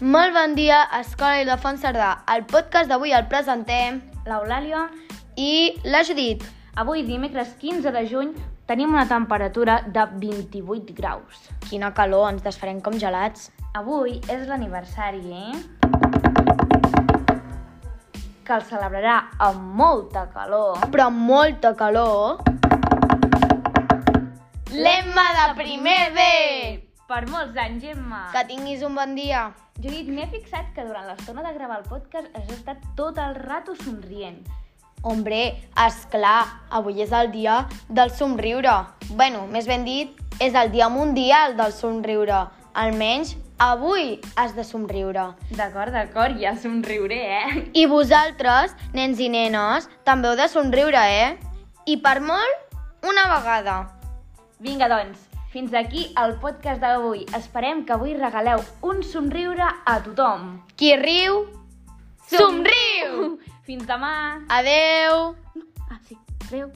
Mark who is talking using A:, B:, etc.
A: Molt bon dia, Escola i la Font Cerdà. El podcast d'avui el presentem
B: L'Eulàlia,
A: i la Judit.
B: avui dimecres 15 de juny tenim una temperatura de 28 graus.
A: Quina calor, ens desfarem com gelats.
B: Avui és l'aniversari, eh? Que el celebrarà amb molta calor.
A: Però amb molta calor... L'Emma de primer B!
B: Per molts anys, Gemma!
A: Que tinguis un bon dia.
B: Judit, m'he fixat que durant l'estona de gravar el podcast has estat tot el rato somrient.
A: Hombre, és clar, avui és el dia del somriure. Bueno, més ben dit, és el dia mundial del somriure. Almenys avui has de somriure.
B: D'acord, d'acord, ja somriuré, eh?
A: I vosaltres, nens i nenes, també heu de somriure, eh? I per molt, una vegada.
B: Vinga, doncs, fins aquí el podcast d'avui. Esperem que avui regaleu un somriure a tothom.
A: Qui riu, somriu!
B: Fins demà!
A: Adeu!
B: Ah, sí, adeu.